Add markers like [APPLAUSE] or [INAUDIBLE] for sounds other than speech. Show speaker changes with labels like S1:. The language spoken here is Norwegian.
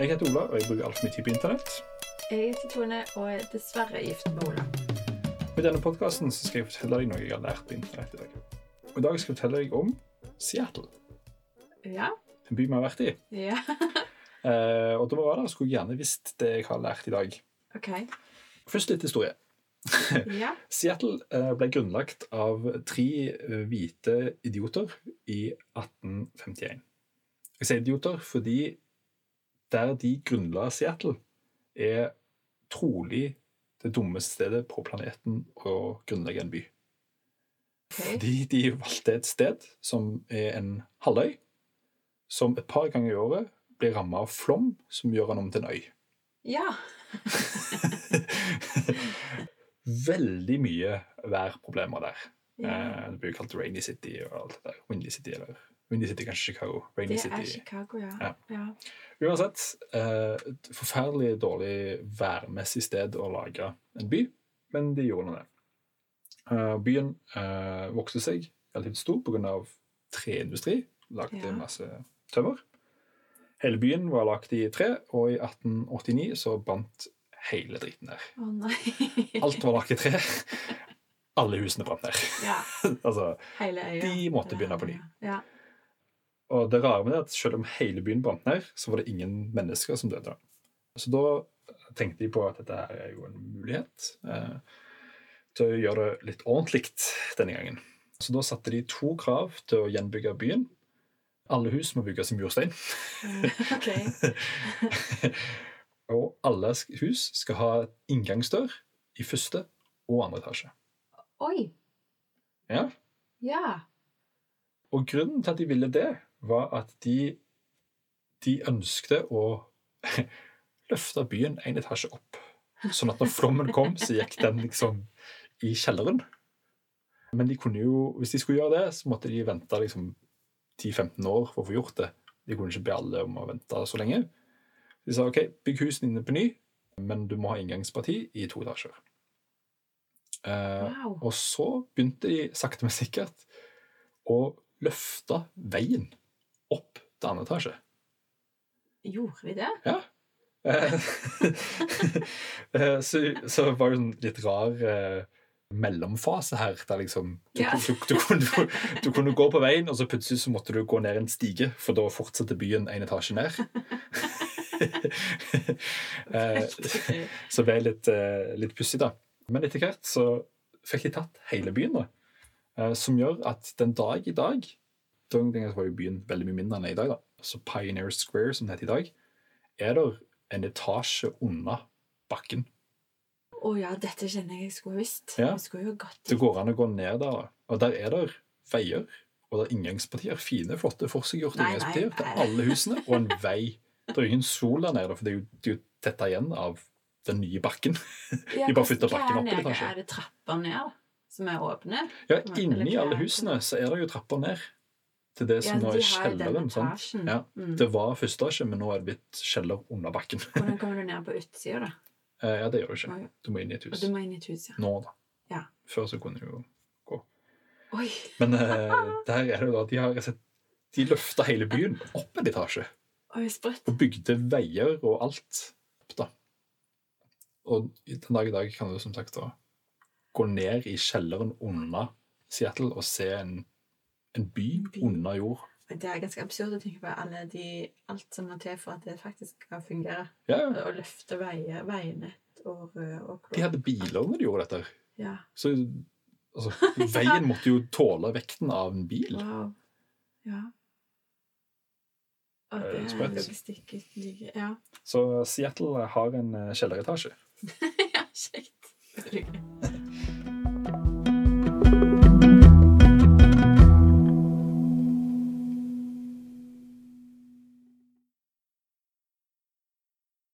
S1: Jeg heter Ola, og jeg bruker altfor mye tid på internett.
S2: Jeg heter Tone og er dessverre gift med Ola.
S1: Og I denne podkasten skal jeg fortelle deg noe jeg har lært på internett i dag. Og I dag skal jeg fortelle deg om Seattle,
S2: Ja.
S1: en by vi har vært i.
S2: ja.
S1: Eh, og da vi var der, skulle jeg gjerne visst det jeg har lært i dag. [LAUGHS]
S2: OK.
S1: Først litt historie.
S2: Ja.
S1: Seattle eh, ble grunnlagt av tre eh, hvite idioter i 1851. Jeg sier idioter fordi der de grunnla Seattle, er trolig det dummeste stedet på planeten å grunnlegge en by.
S2: ok.
S1: Fordi de valgte et sted som er en halvøy, som et par ganger i året blir ramma av flom som gjør han om til en øy. [LAUGHS]
S2: Ja.
S1: Veldig mye værproblemer der.
S2: ja.
S1: Eh, Det blir jo kalt Rainy City og alt det der. Windy City, eller Windy City, kanskje Chicago. Rainy
S2: Det
S1: City.
S2: er Chicago, ja.
S1: Ja.
S2: ja.
S1: Uansett, eh, et forferdelig dårlig værmessig sted å lage en by, men de gjorde nå det. Eh, Byen eh, vokste seg relativt stor pga. treindustri. Lagde
S2: Ja.
S1: masse tømmer. Hele byen var lagd i tre, og i 1889 så brant hele driten ned.
S2: Å nei.
S1: Alt var lagd i tre. Alle husene brant ned.
S2: [LAUGHS]
S1: [LAUGHS]
S2: Ja.
S1: altså,
S2: Hele øya.
S1: De måtte begynne på ny.
S2: Ja.
S1: Og det rare med det er at selv om hele byen brant ned, så var det ingen mennesker som døde. Så da tenkte de på at dette her er jo en mulighet eh, til å gjøre det litt ordentlig denne gangen. Så da satte de to krav til å gjenbygge byen. Alle hus må bygges i murstein.
S2: Eh, OK.
S1: [LAUGHS] og alle sk- hus skal ha inngangsdør i første og andre etasje.
S2: Oi.
S1: Ja.
S2: Ja.
S1: Og grunnen til at de ville det, var at de, de ønskte å [LAUGHS] løfte byen en etasje opp. Sånn at når flommen kom, så gikk den liksom i kjelleren. Men de kunne jo, hvis de skulle gjøre det, så måtte de vente liksom 10-15 år for å få gjort det. De kunne ikke be alle om å vente så lenge. De sa OK, bygg husene dine på ny, men du må ha inngangsparti i to etasjer. Eh,
S2: Wow.
S1: og så begynte de sakte, men sikkert å løfte veien opp til andre etasje.
S2: Gjorde vi det?
S1: Eh, [LAUGHS] eh, så, så var det en litt rar eh, mellomfase her, der liksom du,
S2: Ja.
S1: du, du, kunne, du kunne gå på veien, og så plutselig så måtte du gå ned en stige, for da fortsatte byen en etasje ned. [LAUGHS] eh,
S2: Veldig gøy.
S1: så det ble litt, eh, litt pussig, da. Men etter hvert så fikk de tatt hele byen, da. Eh, som gjør at den dag i dag Den gangen var jo byen veldig mye mindre enn den er i dag, da. Så Pioneer Square, som det heter i dag, er der en etasje unna bakken.
S2: [LAUGHS] Å ja, dette kjenner jeg jeg skulle ha visst.
S1: Ja.
S2: Jeg skulle jo gått
S1: Det går an å gå ned der, da. Og der er der veier, og der er inngangspartier. Fine, flotte, forseggjorte
S2: Nei, nei,
S1: inngangspartier til
S2: nei.
S1: alle husene, og en vei. Det er jo ingen sol der nede, for det er jo, det er jo tetta igjen av den nye bakken. De
S2: Ja,
S1: bare
S2: hvordan
S1: flytter bakken opp
S2: gærne
S1: litt, kanskje.
S2: Er det trapper ned da, som er åpne?
S1: Ja,
S2: Eller
S1: inni alle
S2: klær.
S1: husene så er det jo trapper ned til det som
S2: sånn. Ja,
S1: nå
S2: de
S1: er
S2: har jo
S1: kjelleren.
S2: den
S1: sant?
S2: etasjen.
S1: Ja.
S2: Mm.
S1: Det var første etasje, men nå er det blitt kjeller under bakken. [LAUGHS]
S2: Hvordan kommer du ned på utsida, da?
S1: Eh, ja, det gjør du ikke.
S2: Oi.
S1: Du må inn i et
S2: Og
S1: hus.
S2: du må inn i et hus, ja.
S1: Nå, da.
S2: Ja.
S1: Før så kunne du jo
S2: Oi!
S1: Men eh,
S2: [LAUGHS]
S1: der er det jo da de har sett De løfta hele byen opp en etasje.
S2: Oi, sprøtt.
S1: Og bygde veier og alt opp, da. Og den dag i dag kan du som sagt da gå ned i kjelleren under Seattle og se en, en by
S2: En by.
S1: under jord.
S2: Men Det er ganske absurd å tenke på alle de, alt som må til for at det faktisk skal fungere.
S1: Ja, ja.
S2: Å løfte veier, veinett og rød og
S1: De
S2: blå.
S1: hadde biler når de gjorde dette. her.
S2: Ja.
S1: Så altså, veien måtte jo tåle vekten av en bil.
S2: Wow. Ja. Og
S1: Eh,
S2: det er
S1: sprøtt.
S2: logistikk uten like. Ja. [LAUGHS]
S1: Så Seattle har en eh, kjelleretasje.
S2: ja, kjekt. Veldig gøy.